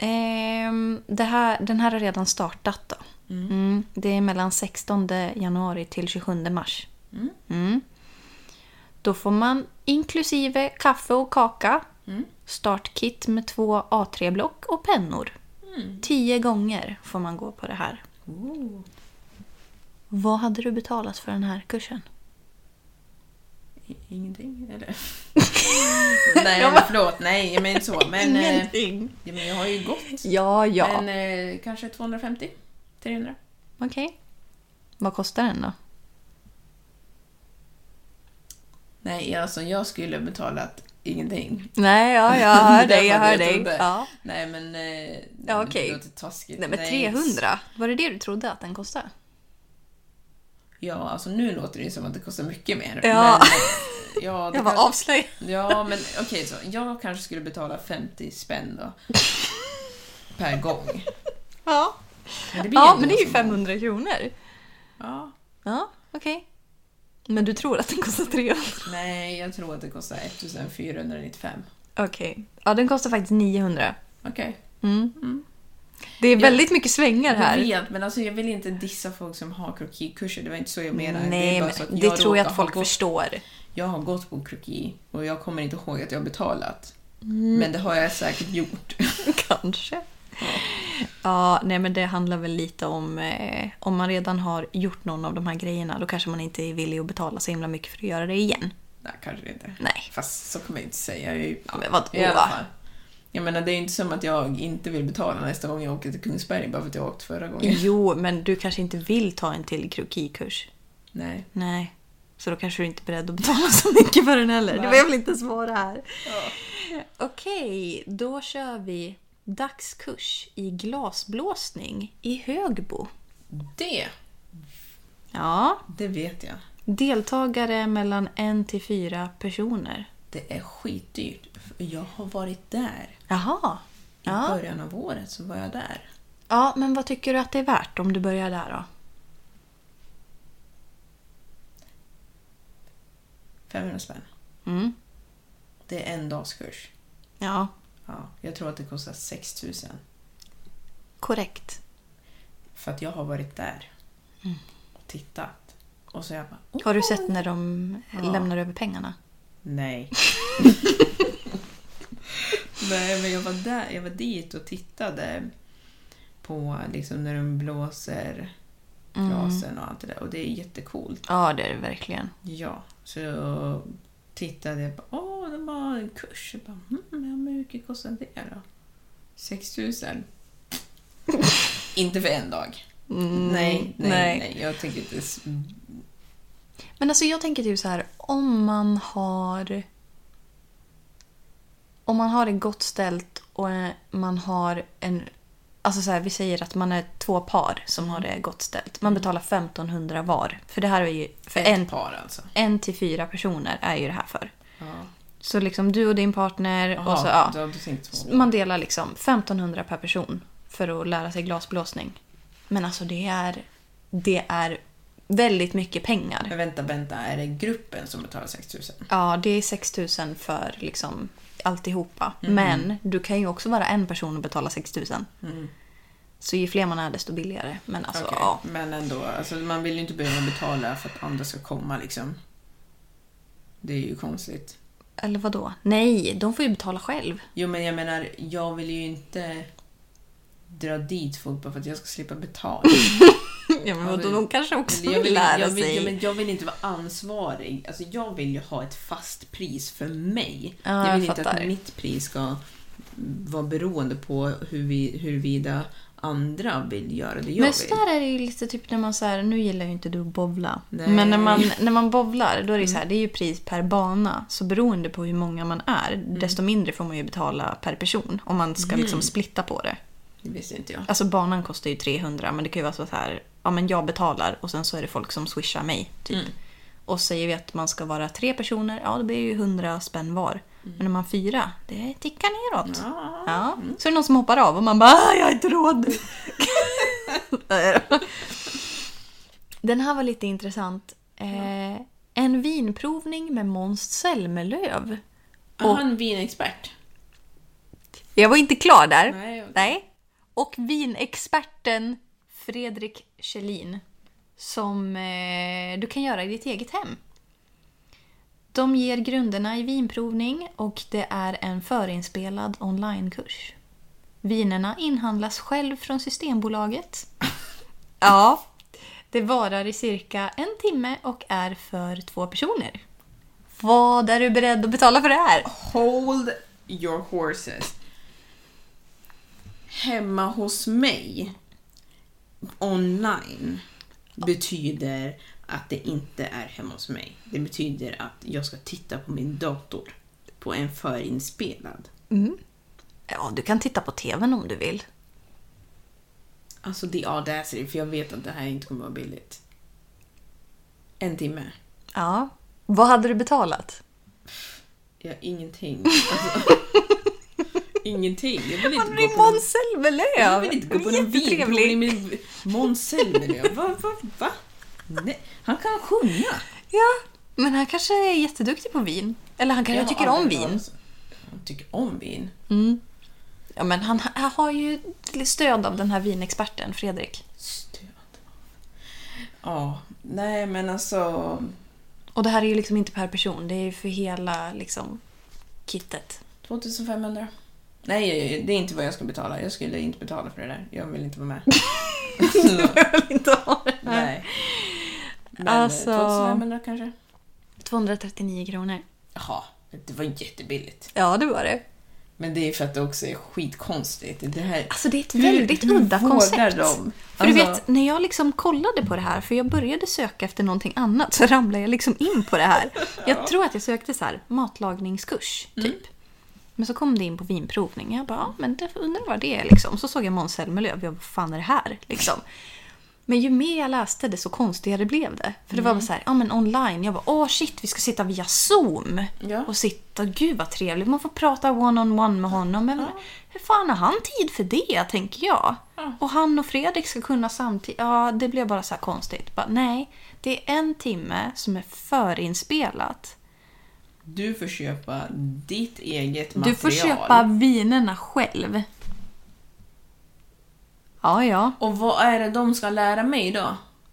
Ehm, det här, den här har redan startat då. Mm. Det är mellan 16 januari till 27 mars. Mm. Då får man inklusive kaffe och kaka, startkit med två A3-block och pennor. Tio gånger får man gå på det här. Oh. Vad hade du betalat för den här kursen? I- Ingenting, eller? <laughs> nej, men förlåt. Nej, jag menar inte så. Men, eh, Ingenting. ja, men jag har ju gått. Ja, ja. Men eh, kanske 250? 300? Okej. Vad kostar den då? Nej, alltså jag skulle betalat ingenting. Nej, ja, jag <laughs> hör <laughs> Det dig, jag var det hör dig. jag trodde. Ja. Nej, men... Eh, Ja, okej. Det låter taskigt. Nej, men 300. Var det det du trodde att den kostade? Ja, alltså nu låter det ju som att det kostar mycket mer. Ja. <laughs> Men, eh, ja, det Jag var kanske- avslöjad. Ja, men okej så. Jag kanske skulle betala 50 spänn <laughs> då. per gång. Ja, Men det, blir ja ändå men alltså. det är ju så 500 kronor. Ja. Ja, okej. Men du tror att den kostar 300? Nej, jag tror att det kostar 1495. Okej. Ja, den kostar faktiskt 900. Okej. Det är väldigt mycket svängar Jag här. vet, men alltså jag vill inte dissa folk som har krokikurser. Det var inte så jag menade. Nej, bara men så att det tror jag råkar att folk ha gått- förstår. Jag har gått på kroki och jag kommer inte ihåg att jag har betalat. Mm. Men det har jag säkert gjort. <laughs> <laughs> Kanske. Ja. nej men det handlar väl lite om eh, om man redan har gjort någon av de här grejerna då kanske man inte är villig att betala så himla mycket för att göra det igen. Nej, kanske inte. Nej. Fast så kommer jag inte säga. Jag är ju... Ja, men vadå? I alla fall. Jag menar, det är ju inte som att jag inte vill betala nästa gång jag åker till Kungsberg bara för att jag åkt förra gången. Jo, men du kanske inte vill ta en till krokikurs? Nej. Nej. Så då kanske du inte är beredd att betala så mycket för den heller. Det var jag väl inte svara här. Okej, då kör vi dagskurs i glasblåsning i Högbo. Det, Ja, det vet jag. deltagare mellan en till fyra personer. Det är skitdyrt. för Jag har varit där. Jaha. I Ja. början av året så var jag där. ja, men vad tycker du att det är värt om du börjar där då? 500 spänn. Mm. Det är en dagskurs. Ja, Ja, jag tror att det kostar 6 000. korrekt. För att jag har varit där och tittat. Och så jag bara, oh, Mm. Har du sett när de lämnar över pengarna? <laughs> nej. nej, men jag var där, jag var dit och tittade på liksom när de blåser Mm. glasen och allt det där. Och det är jättecoolt. Ja, det är det verkligen. Ja, så tittade jag på, åh, det var en kurs. Jag bara, mm, ja, men hur mycket kostar det då? 6 000. <laughs> inte för en dag. nej, nej, Mm, nej. nej, Jag tänker inte... s- Men alltså jag tänker typ så här, om man har... Om man har det gott ställt och eh, man har en... Alltså så här, vi säger att man är två par som har det gott ställt. Man betalar 1500 var. För det här är ju... För Ett en, par alltså. en till fyra personer är ju det här för. Ja. Så liksom du och din partner Jaha, och så ja. då har du tänkt så. Man delar liksom 1500 per person för att lära sig glasblåsning. Men alltså det är... Det är väldigt mycket pengar. Men vänta, vänta, är det gruppen som betalar 6 000? Ja, det är 6 000 för liksom alltihopa. Mm. Men du kan ju också vara en person och betala 6 000. Så ju fler man är desto billigare. Men alltså, Mm. Okej, ja. Men ändå, alltså, man vill ju inte behöva betala för att andra ska komma liksom. Det är ju konstigt. Eller vad då? Nej, de får ju betala själv. Jo, men jag menar, jag vill ju inte dra dit folk bara för att jag ska <laughs> slippa betala. Ja, men vadå, de kanske Eller jag, vill, jag, vill, jag, men jag vill inte vara ansvarig. Alltså, jag vill ju ha ett fast pris för mig. Ja, jag vill jag inte fattar. att mitt pris ska vara beroende på hur vi, huruvida andra vill göra det jag Men vill. så där är det ju lite typ när man så här, nu gillar ju inte du att bowla. Nej. Mm. Men när man, när man bowlar, då är det ju så här, det är ju pris per bana. Så beroende på hur många man är, Mm. desto mindre får man ju betala per person. Om man ska liksom splitta på det. Det visste inte jag. Alltså banan kostar ju 300 men det kan ju vara så här, ja men jag betalar och sen så är det folk som swishar mig. Typ. Och säger vi att man ska vara tre personer, ja då blir det ju 100 spänn var. Men om man är fyra, det tickar neråt. Ja. Så är det någon som hoppar av och man bara "Ah, “jag har inte råd”. <laughs> Den här var lite intressant. Eh, en vinprovning med Måns Zelmerlöw. Är han vinexpert? Jag var inte klar där. Nej, okej. Nej. Och vinexperten Fredrik Kjellin som eh, du kan göra i ditt eget hem. De ger grunderna i vinprovning och det är en förinspelad onlinekurs. Vinerna inhandlas själv från <laughs> Systembolaget. ja. Det varar i cirka en timme och är för två personer. Vad är du beredd att betala för det här? Hold your horses. Hemma hos mig online betyder att det inte är hemma hos mig. Det betyder att jag ska titta på min dator på en förinspelad. Ja, du kan titta på TVn om du vill. Alltså the audacity, för jag vet att det här inte kommer vara billigt. En timme. Ja. Vad hade du betalat? Ja, ingenting. Alltså, ingenting. Jag vill inte gå på någon- Jag Zelmerlöw! vill inte gå på någon vinprovning med Måns Zelmerlöw. Va, va, va? Nej, han kan sjunga. Ja, men han kanske är jätteduktig på vin. Eller han kanske har tycker om aldrig hört vin. talas Han tycker om vin? Ja, men han, han har ju stöd av den här vinexperten Fredrik. Stöd. Ja, nej men alltså. Och det här är ju liksom inte per person, det är ju för hela liksom <laughs> kittet. 2500. Nej, det är inte vad jag ska betala. Jag skulle inte betala för det där. Jag vill inte vara med. Inte ha det här. nej. Men eh, Alltså- 2500 kanske? 239 kronor. Jaha, det var jättebilligt. Ja, det var det. Men det är för att det också är skitkonstigt. Det här, Alltså det är ett hur- väldigt hur udda vågar koncept. de? För du Alltså- vet, när jag liksom kollade på det här, för jag började söka efter någonting annat, så ramlade jag liksom in på det här. Jag tror att jag sökte så här, matlagningskurs, typ. Men så kom det in på vinprovning. Jag bara, ja, men det- undrar vad det är liksom. Så såg jag Måns Zelmerlöw. Jag bara, vad fan är det här? Liksom. Men ju mer jag läste det så konstigare blev det. För det var bara så här, ja men online. Jag bara, åh shit, vi ska sitta via zoom. Ja. Och sitta, gud vad trevligt. Man får prata one-on-one med honom. Men hur fan har han tid för det, tänker jag? Och han och Fredrik ska kunna samtidigt. Ja, det blev bara så här konstigt. Bara, nej, det är en timme som är förinspelat. Du får köpa ditt eget material. Du får köpa vinerna själv. Ja, ja. Och vad är det de ska lära mig då?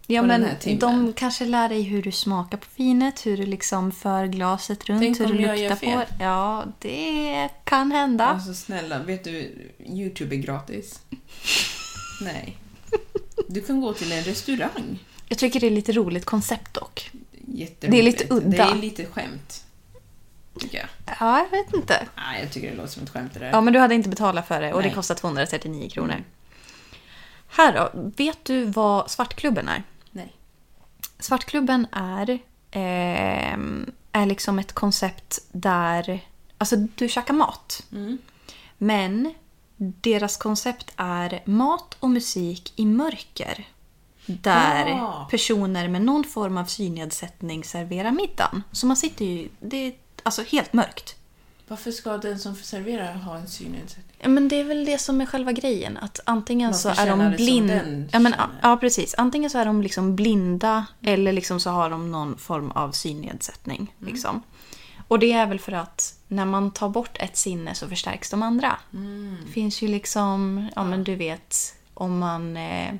ja På den men här timmen. de kanske lär dig hur du smakar på vinet, hur du liksom för glaset runt, Tänk hur du om jag gör luktar på. fel? Ja, det kan hända. Alltså snälla, vet du, Youtube är <laughs> gratis. Nej. Du kan gå till en restaurang. Jag tycker det är lite roligt koncept dock. Jätteroligt. Det är lite Det udda. är lite skämt. Tycker jag. Ja, jag vet inte. Nej, jag tycker det låter som ett skämt det där. Ja, men du hade inte betalat för det och Nej. det kostar 239 kronor. Här då, vet du vad Svartklubben är? Nej. Svartklubben är, ehm, är liksom ett koncept där alltså du käkar mat. Men deras koncept är mat och musik i mörker. Där Ja. personer med någon form av synnedsättning serverar middagen. Så man sitter ju... Det är alltså helt mörkt. Varför ska den som serverar ha en synnedsättning? Ja, men det är väl det som är själva grejen. Att antingen Man så får är känna de det som blinda. den Ja, men, känner. ja, precis. Antingen så är de liksom blinda eller liksom så har de någon form av synnedsättning. Mm. Liksom. Och det är väl för att när man tar bort ett sinne så förstärks de andra. Mm. Det finns ju liksom, ja men du vet, om man eh,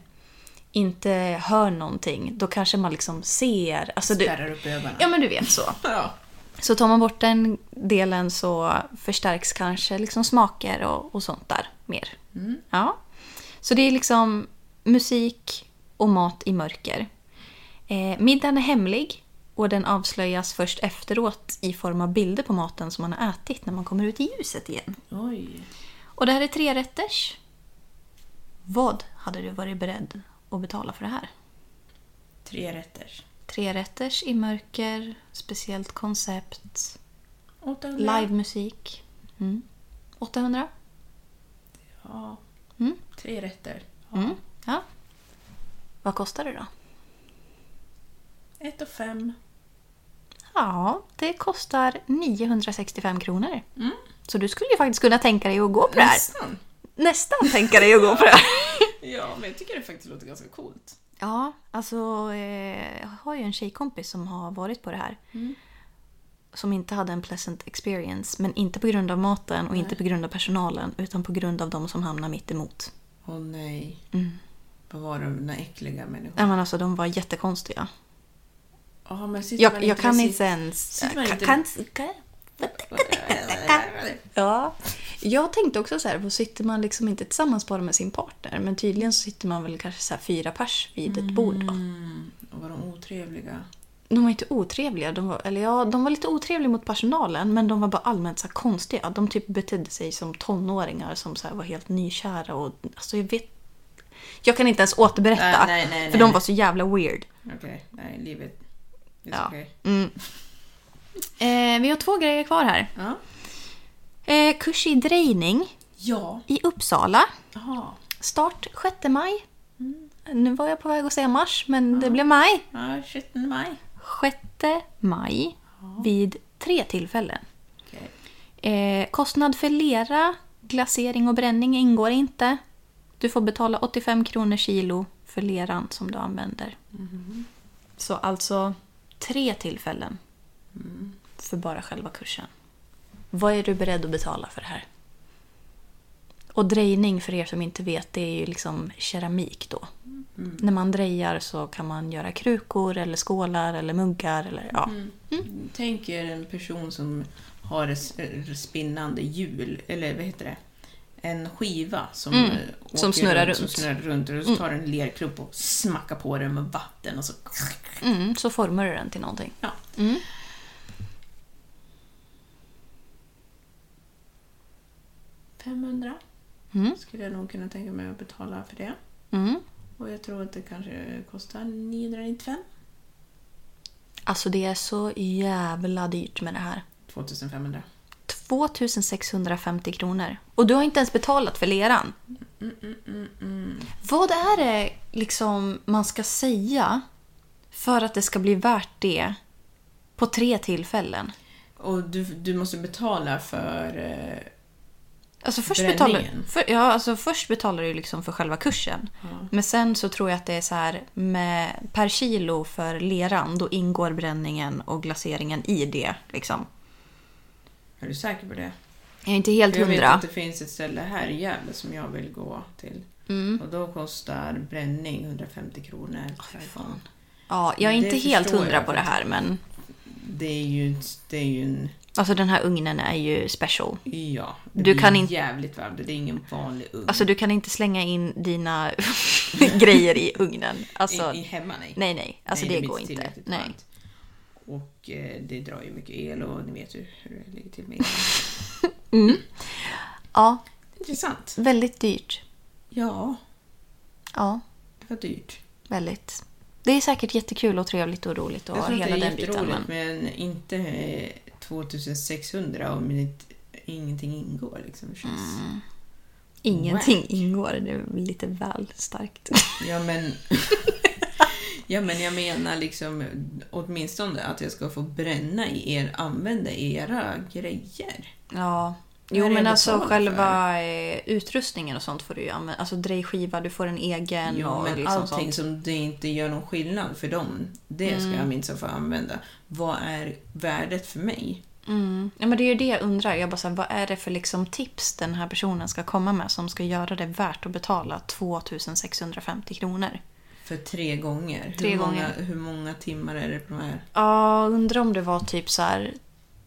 inte hör någonting, då kanske man liksom ser. Alltså, du, Spärrar upp ögonen. ja men du vet så. Ja. Så tar man bort den delen så förstärks kanske liksom smaker och, och sånt där mer. Ja. Så det är liksom musik och mat i mörker. Eh, middagen är hemlig och den avslöjas först efteråt i form av bilder på maten som man har ätit när man kommer ut i ljuset igen. Oj. Och det här är tre rätters. Vad hade du varit beredd att betala för det här? Tre rätter. Tre rätters i mörker, speciellt koncept. 800. Livemusik. Mm. 800. Ja. Mm. Tre rätter. Mm. Ja. Vad kostar det då? Ett och fem. Ja, det kostar 965 kronor. Så du skulle ju faktiskt kunna tänka dig att gå på det här. Nästan. Mm. Nästan tänka dig att gå på <laughs> det här. Ja, men jag tycker det faktiskt låter ganska coolt. Ja, alltså eh, jag har ju en tjejkompis som har varit på det här. Som inte hade en pleasant experience, men inte på grund av maten och inte på grund av personalen utan på grund av de som hamnar mitt emot. Åh nej. Vad var de där äckliga människorna? Nej, men alltså de var jättekonstiga. Ja, men sitter man Jag, jag kan precis- inte ens... sitter man kan- inte- kan- kan- Ja. Jag tänkte också så här, vad sitter man liksom inte tillsammans bara med sin partner? Men tydligen så sitter man väl kanske så här fyra pers vid Mm. ett bord. Då. Och var de otrevliga? De var inte otrevliga, de var, eller ja, de var lite otrevliga mot personalen men de var bara allmänt så här konstiga. De typ betedde sig som tonåringar som så här var helt nykära och alltså jag vet... Jag kan inte ens återberätta Nej, nej, nej, för nej. de var så jävla weird. Okej, nej, livet. It's Ja. okay. Mm. Eh, vi har två grejer kvar här. Ja. Eh, kurs i drejning Ja. i Uppsala. Jaha. Start 6 maj. Nu var jag på väg att säga mars, men det blev maj. Mm. Ja, 17 maj. 6 maj vid tre tillfällen. Okej. Eh, kostnad för lera, glasering och bränning ingår inte. Du får betala 85 kronor kilo för leran som du använder. Så alltså tre tillfällen mm, för bara själva kursen. Vad är du beredd att betala för det här? Och drejning, för er som inte vet, det är ju liksom keramik då. När man drejar så kan man göra krukor eller skålar eller muggar eller ja. Tänk er en person som har ett s- spinnande hjul, eller vad heter det? En skiva som, eh, åker Mm, som snurrar Som runt. snurrar runt och så tar en lerklubb och smackar på den med vatten och så... Mm, så formar du den till någonting. Ja. 500 skulle jag nog kunna tänka mig att betala för det. Mm. Och jag tror att det kanske kostar 995. Alltså det är så jävla dyrt med det här. 2500. 2650 kronor. Och du har inte ens betalat för leran. Vad är det liksom man ska säga för att det ska bli värt det på tre tillfällen? Och du, du måste betala för... eh, Alltså först, betalar, Bränningen. för, ja, alltså först betalar du liksom för själva kursen. Men sen så tror jag att det är så här med, per kilo för leran, då ingår bränningen och glaseringen i det. Liksom. Är du säker på det? Jag är inte helt För Jag vet hundra. att det finns ett ställe här i Gävle som jag vill gå till. Och då kostar bränning 150 kronor. per gång. Ja, jag är Det inte helt förstår hundra jag på det här men Det är ju, det är ju en... alltså den här ugnen är ju special. Ja. Du Det blir kan inte- jävligt varmt. Det är ingen vanlig ugn. Alltså du kan inte slänga in dina <laughs> grejer i ugnen. Alltså, I, I hemma nej. nej nej, alltså Nej, det, blir går inte. tillräckligt Nej. varmt. Och eh, det drar ju mycket el och ni vet ju hur det ligger till med el. Ja, Intressant. väldigt dyrt. Ja, Ja, det var dyrt. väldigt. Det är säkert jättekul och trevligt och roligt och Jag tror att det hela är den biten. jätteroligt Men... men inte eh, 2600 om det, ingenting ingår. Liksom. Det känns- Mm. Ingenting ingår, det är lite väl <laughs> starkt. Ja, men... Ja men jag menar liksom åtminstone att jag ska få bränna i er, använda era grejer. Ja. Vad Jo är det men jag alltså betalar själva eh, utrustningen och sånt får du ju använda. Alltså drejskiva, du får en egen Ja, och men liksom allting sånt. som det inte gör någon skillnad för dem, det ska jag minst få använda. Vad är värdet för mig? Mm. Ja, men det är ju det jag undrar. Jag bara så här, vad är det för liksom tips den här personen ska komma med som ska göra det värt att betala 2650 kronor? För tre gånger. Tre hur, många, gånger. hur många timmar är det på de här? Ja, undrar om det var typ så här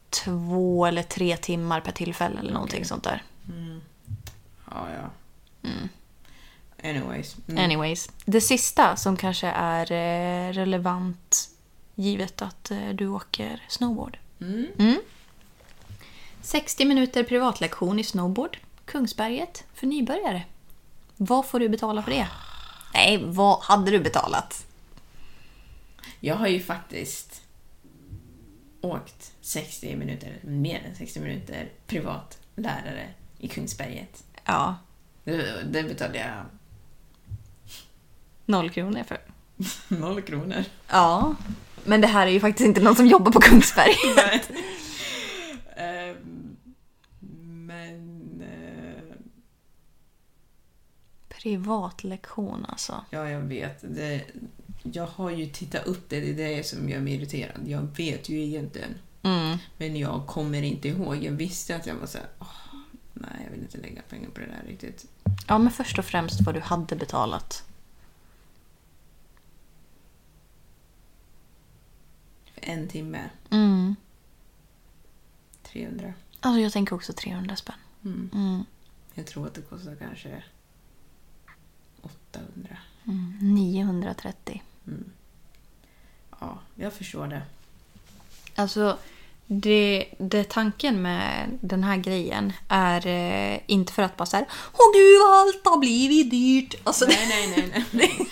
två eller tre timmar per tillfälle eller någonting sånt där. Ja, ja. Mm. Anyways. Mm. Anyways, det sista som kanske är eh, relevant givet att eh, du åker snowboard. Mm. 60 minuter privatlektion i snowboard, Kungsberget, för nybörjare. Vad får du betala för det? Nej, vad hade du betalat? Jag har ju faktiskt åkt 60 minuter, mer än 60 minuter, privat lärare i Kungsberget. Ja, Det, det betalade jag noll kronor för. <laughs> noll kronor. Ja, men det här är ju faktiskt inte någon som jobbar på <laughs> Kungsberget. Ehm, men... eh, Privatlektion alltså. Ja, jag vet. Det, jag har ju tittat upp det, det är det som gör mig irriterad. Jag vet ju egentligen. Men jag kommer inte ihåg. Jag visste att jag var såhär, "Åh, nej jag vill inte lägga pengar på det där riktigt. Ja, men först och främst vad du hade betalat. För en timme, 300. Alltså jag tänker också 300 spänn. Jag tror att det kostar kanske 800. 930. Ja, jag förstår det. Alltså, det, det tanken med den här grejen är eh, inte för att bara såhär Åh gud vad allt har blivit dyrt! Alltså, Nej, nej, nej.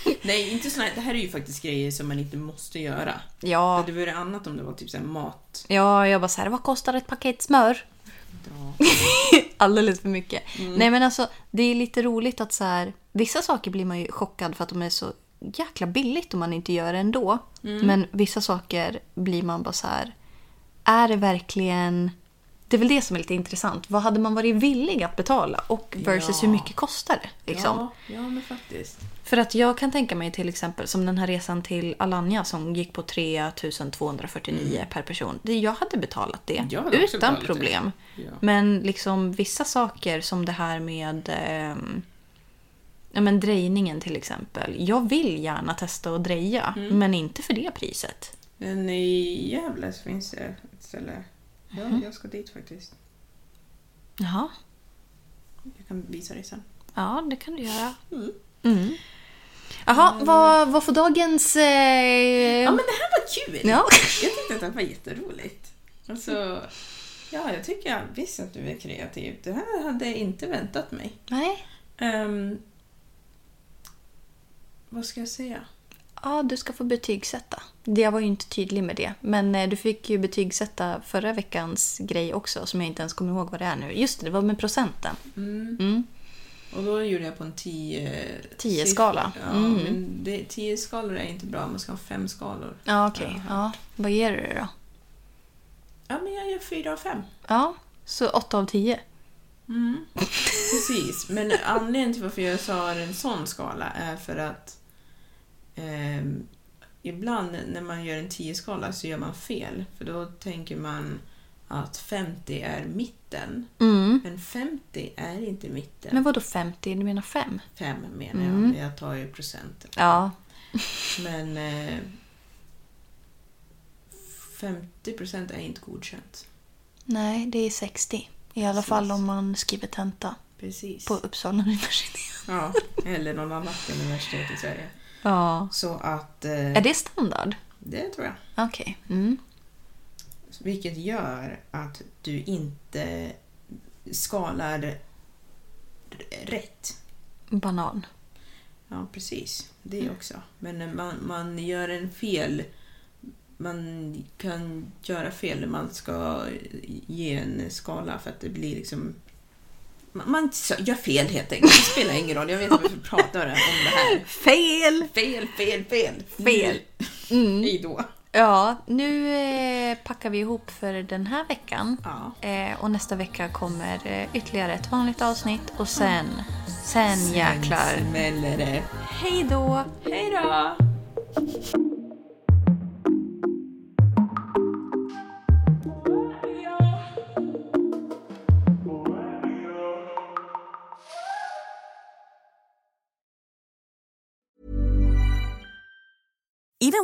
Nej, nej inte såna här. Det här är ju faktiskt grejer som man inte måste göra. <laughs> Ja, Det vore annat om det var typ så här mat. ja, jag bara såhär, vad kostar ett paket smör? Ja. <laughs> Alldeles för mycket. Mm. Nej men alltså, det är lite roligt att så här, vissa saker blir man ju chockad för att de är så jäkla billigt om man inte gör det ändå. Mm. Men vissa saker blir man bara så här, är det verkligen... Det är väl det som är lite intressant. Vad hade man varit villig att betala och versus Ja. hur mycket kostar det? Liksom? Ja, ja, men faktiskt. För att jag kan tänka mig till exempel som den här resan till Alanya som gick på 3249 per person. Det- Jag hade betalat det Jag hade också utan betalat det. problem. Ja. Men liksom vissa saker som det här med ehm, ja, men drejningen till exempel. Jag vill gärna testa att dreja men inte för det priset. Men i Gävle så finns det ett ställe. Ja, Mhm. jag ska dit faktiskt. Jaha, Jag kan visa dig sen. ja det kan du göra. Mm. Jaha, vad, vad får dagens... Eh... Ja, men det här var kul! Ja. Jag tyckte att det här var jätteroligt. Alltså, Ja, jag tycker jag visst att du är kreativ. Det här hade jag inte väntat mig. Nej. Ehm, vad ska jag säga? Ja, du ska få betygsätta. Jag var ju inte tydlig med det. Men eh, du fick ju betygsätta förra veckans grej också som jag inte ens kommer ihåg vad det är nu. Just det, det var med procenten. Mm. Mm. Och då gjorde jag på en 10... 10-skala. Ja, men det, 10 skalor är inte bra. Man ska ha fem skalor. Ja, okej. Ja. Vad ger du det då? Ja, men jag gör fyra av fem. Ja, så 8 av 10. Precis, men anledningen till varför jag sa en sån skala är för att ehm, ibland när man gör en 10-skala så gör man fel. För då tänker man att 50 är mitten. Men 50 är inte Mm. Men mitten. Mm. vadå 50? Du menar 5? 5 menar jag, men jag tar ju procenten. Ja. Men eh, 50 procent är inte godkänt. Nej, det är 60. I alla fall om man skriver tenta Precis. på Uppsala <laughs> universitet. Ja, eller någon annat universitet i Sverige. Ja. Så att... eh, Är det standard? Det tror jag. Okej. Mm. Vilket gör att du inte skalar r- rätt. Banan. Ja, precis. Mm. Det också. Men när man, man gör en fel. Man kan göra fel när man ska eh, ge en skala för att det blir liksom... Man, man gör fel helt enkelt. Det spelar ingen roll. Jag vet inte varför vi pratar om det här. Fel! Fel, fel, fel. Fel. Mm. Hej då. Ja, nu eh, packar vi ihop för den här veckan. Ja. Eh, och nästa vecka kommer eh, ytterligare ett vanligt avsnitt och sen, sen jäklar. Smäller det. Hej då! Hej då! Even